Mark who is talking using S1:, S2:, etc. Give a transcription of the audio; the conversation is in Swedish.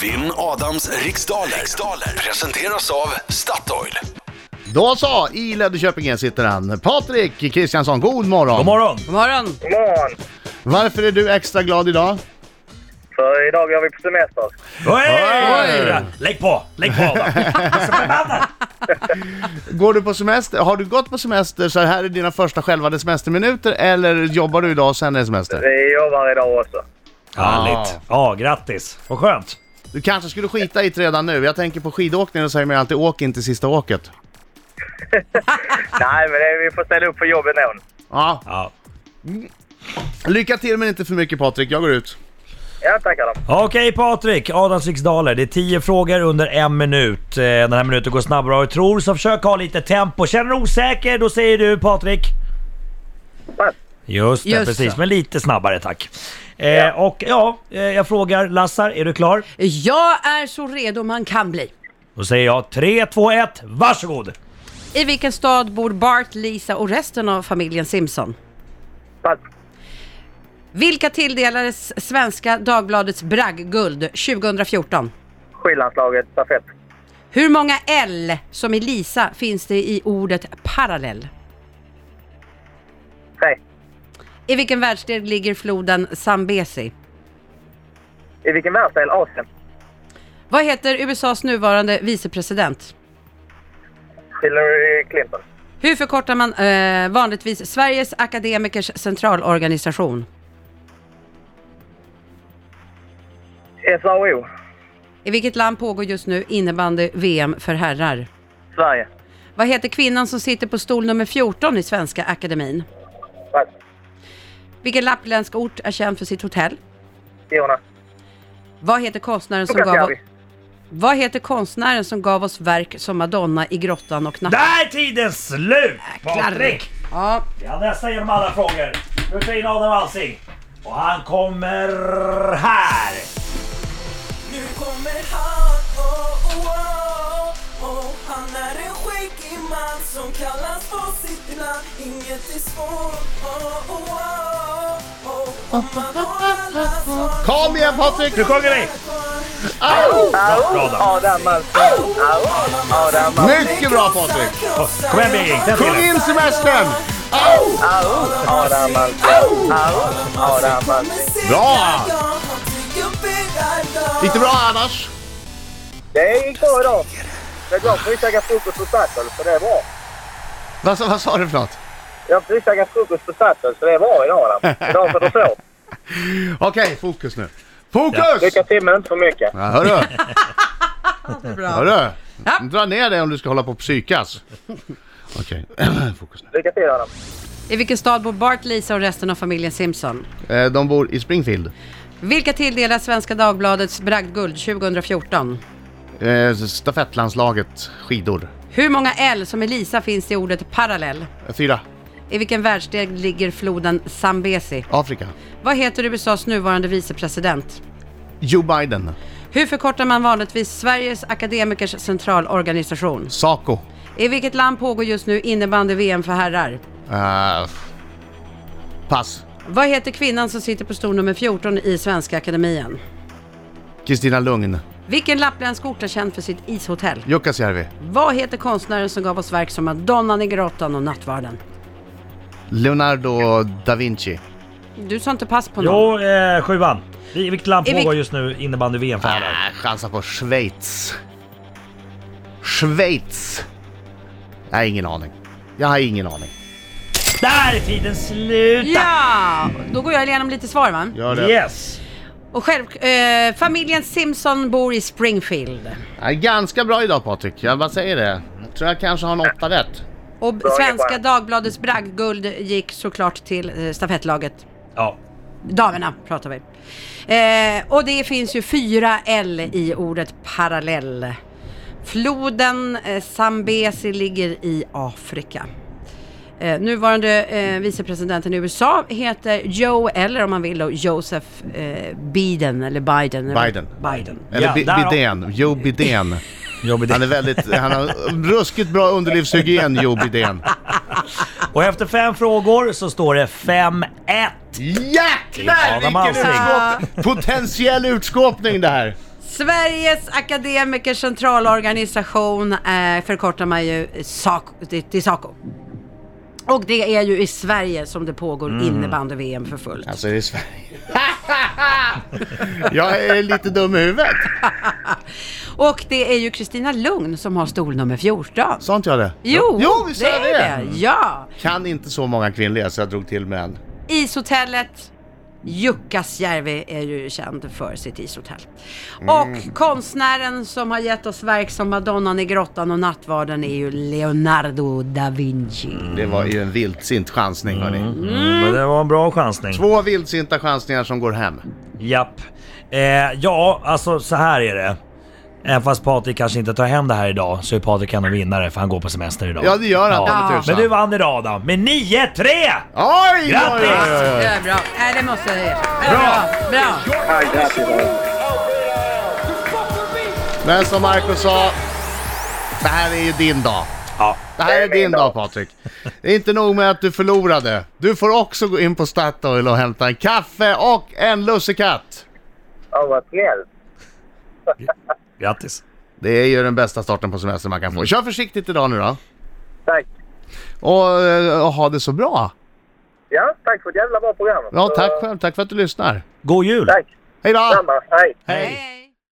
S1: Vinn Adams riksdaler. riksdaler presenteras av Statoil.
S2: Då så, i Löddeköpingen sitter han. Patrik Kristiansson, god morgon.
S3: God morgon!
S4: God morgon!
S5: God morgon!
S2: Varför är du extra glad idag?
S5: För idag går vi på semester.
S3: Oj! Lägg på! Lägg på! Adam. Jag är så förbannad.
S2: Går du på semester? Har du gått på semester så här är dina första självade semesterminuter eller jobbar du idag och sen är det semester?
S5: Vi jobbar idag också.
S3: Härligt! Ja, grattis! Vad skönt!
S2: Du kanske skulle skita i det redan nu. Jag tänker på skidåkningen och säger man ju alltid åk inte sista åket.
S5: Nej, men det, vi får ställa upp för jobbet någon.
S2: Ja,
S3: Ja.
S2: lycka till men inte för mycket Patrik, jag går ut.
S5: Ja, tackar då.
S3: Okej Patrik, Adams riksdaler. Det är 10 frågor under en minut. Eh, Den här minuten går snabbare än du tror, så försök ha lite tempo. Känner du osäker, då säger du Patrik.
S5: Pass.
S3: Just det,
S4: Just
S3: precis.
S4: så.
S3: Men lite snabbare tack. Eh, och ja, eh, jag frågar Lassar, är du klar?
S4: Jag är så redo man kan bli.
S3: Då säger jag 3, 2, 1, varsågod!
S4: I vilken stad bor Bart, Lisa och resten av familjen Simpson?
S5: Pass.
S4: Vilka tilldelades Svenska Dagbladets Bragdguld 2014?
S5: Skillandslaget, stafett.
S4: Hur många L som i Lisa finns det i ordet parallell?
S5: Tre.
S4: I vilken världsdel ligger floden Zambezi?
S5: I vilken världsdel? Asien.
S4: Vad heter USAs nuvarande vicepresident?
S5: Hillary Clinton.
S4: Hur förkortar man eh, vanligtvis Sveriges Akademikers Centralorganisation?
S5: SAO.
S4: I vilket land pågår just nu innebandy-VM för herrar?
S5: Sverige.
S4: Vad heter kvinnan som sitter på stol nummer 14 i Svenska Akademin?
S5: Pass.
S4: Vilken lappländsk ort är känd för sitt hotell?
S5: Jonas.
S4: Vad heter konstnären som gav
S5: Tukasjärvi.
S4: oss, Vad heter konstnären som gav oss verk som Madonna i grottan och natten?
S3: Där är tiden slut! Patrik!
S4: Ja,
S3: Vi hade nästan genom alla frågor. Nu tar jag in Adam Alsing. Och han kommer här!
S6: Nu kommer han, oh, oh, oh, oh. Han är en skäggig man som kallas på sitt namn Inget är svårt, oh, oh, oh, oh. Om man har alla svar
S2: Kom igen Patrik!
S3: Nu sjunger vi!
S2: Au!
S3: Bra Adam.
S5: Adam Alsing. Au! Adam Alsing.
S2: Mycket bra Patrik!
S3: Kom igen Birgit, sätt till
S2: Sjung
S3: det.
S2: in semestern! Au!
S5: Au! Adam Alsing. Au! Adam Alsing.
S2: Bra!
S6: Lite
S2: Lite bra annars.
S5: Det gick bra idag. Det är bra. Jag får ju käka frukost på Statoil, så det är bra.
S2: Vad, sa- vad sa du för något?
S5: Jag får ju käka frukost på Statoil, så det är bra idag Adam. Idag får du så.
S2: Okej, fokus nu. Fokus!
S5: Lycka till men inte för mycket.
S2: Ja, hörru,
S4: bra.
S2: hörru.
S4: Ja.
S2: Dra ner dig om du ska hålla på och psykas. Okej, fokus nu.
S5: Lycka till Adam.
S4: I vilken stad bor Bart, Lisa och resten av familjen Simpson?
S2: Eh, De bor i Springfield.
S4: Vilka tilldelas Svenska Dagbladets Bragdguld 2014?
S2: Eh, Stafettlandslaget, skidor.
S4: Hur många L som i Lisa finns det i ordet parallell?
S2: Eh, Fyra,
S4: I vilken världsdel ligger floden Zambezi?
S2: Afrika.
S4: Vad heter USAs nuvarande vicepresident?
S2: Joe Biden,
S4: Hur förkortar man vanligtvis Sveriges Akademikers Centralorganisation?
S2: Saco.
S4: I vilket land pågår just nu innebandy-VM för herrar?
S2: Eh, pass.
S4: Vad heter kvinnan som sitter på stol nummer 14 i Svenska Akademien?
S2: Kristina Lugn,
S4: Vilken lappländsk ort är känd för sitt ishotell?
S2: Jukkasjärvi,
S4: Vad heter konstnären som gav oss verk som Madonnan i grottan och nattvarden?
S2: Leonardo da Vinci.
S4: Du sa inte pass på någon.
S3: Jo, eh, sjuan. I vilket land
S4: I vil-
S3: pågår just nu innebandy-VM för herrar?
S4: Äh.
S2: Ah, chansa på Schweiz. Schweiz. Jag har ingen aning. Jag har ingen aning.
S3: Där är tiden slut!
S4: Ja! Då går jag igenom lite svar va?
S2: Gör
S3: Yes!
S4: Och själv, eh, familjen Simpson bor i Springfield.
S2: Ja, ganska bra idag Patrik, jag bara säger det. Jag tror jag kanske har en åtta rätt.
S4: Och Svenska
S5: jobbat.
S4: Dagbladets bragdguld gick såklart till eh, stafettlaget.
S3: Ja.
S4: Damerna pratar vi. Eh, och det finns ju fyra L i ordet parallell. Floden eh, Zambezi ligger i Afrika. Eh, nuvarande eh, vicepresidenten i USA heter Joe, eller om man vill då Joseph eh, Biden, eller Biden. eller-
S2: Biden.
S4: Biden.
S2: Eller
S3: Ja,
S2: Bi-
S3: där har-
S2: Bidén, Joe Bidén.
S3: Jobbigt.
S2: Han är väldigt, han har ruskigt bra underlivshygien Joe Bidén.
S3: Och efter fem frågor så står det 5-1.
S2: Jäklar
S3: Adam
S2: vilken
S3: Alsing.
S2: utskåp... potentiell utskåpning det här!
S4: Sveriges Akademikers Centralorganisation eh, förkortar man ju SACO, till till SACO. Och det är ju i Sverige som det pågår innebandy-VM för fullt.
S2: Mm. Alltså är det Sverige? jag är lite dum i huvudet.
S4: Och det är ju Kristina Lugn som har stol nummer 14.
S2: Sa inte jag det?
S4: Jo,
S2: jo visst
S4: det är det.
S2: Mm.
S4: Ja.
S2: Kan inte så många kvinnliga så jag drog till med en.
S4: Ishotellet. Jukkasjärvi är ju känd för sitt ishotell.
S2: Mm.
S4: Och konstnären som har gett oss verk som Madonnan i grottan och Nattvarden är ju Leonardo da Vinci.
S2: Det var ju en vildsint chansning hörni.
S4: Mm.
S3: Men det var en bra chansning.
S2: Två vildsinta chansningar som går hem.
S3: Japp. Eh, ja, alltså så här är det. Även fast Patrik kanske inte tar hem det här idag så är Patrik ändå vinnare för han går på semester idag.
S2: Ja, det gör han, ta mig
S3: Men
S2: tusan.
S3: du vann idag Adam med 9-3!
S2: Oj! oj, oj, oj,
S4: Det
S2: oj.
S4: är bra. Nej, det måste jag ge. Bra! Bra!
S5: Ja, grattis.
S2: Men som Marcus sa, det här är ju din dag.
S3: Ja.
S2: Det här är din dag Patrik. Det är inte nog med att du förlorade. Du får också gå in på Statoil och hämta en kaffe och en lussekatt.
S5: Ja, vad snällt.
S3: Grattis.
S2: Det är ju den bästa starten på semester man kan få. Kör försiktigt idag nu då.
S5: Tack.
S2: Och, eh, och ha det så bra.
S5: Ja, tack för ett jävla bra program.
S2: Ja,
S5: Så,
S2: tack själv. Tack för att du lyssnar.
S3: God jul!
S5: Tack.
S2: Hej då!
S5: Samma. Hej.
S2: Hej!
S4: Hej.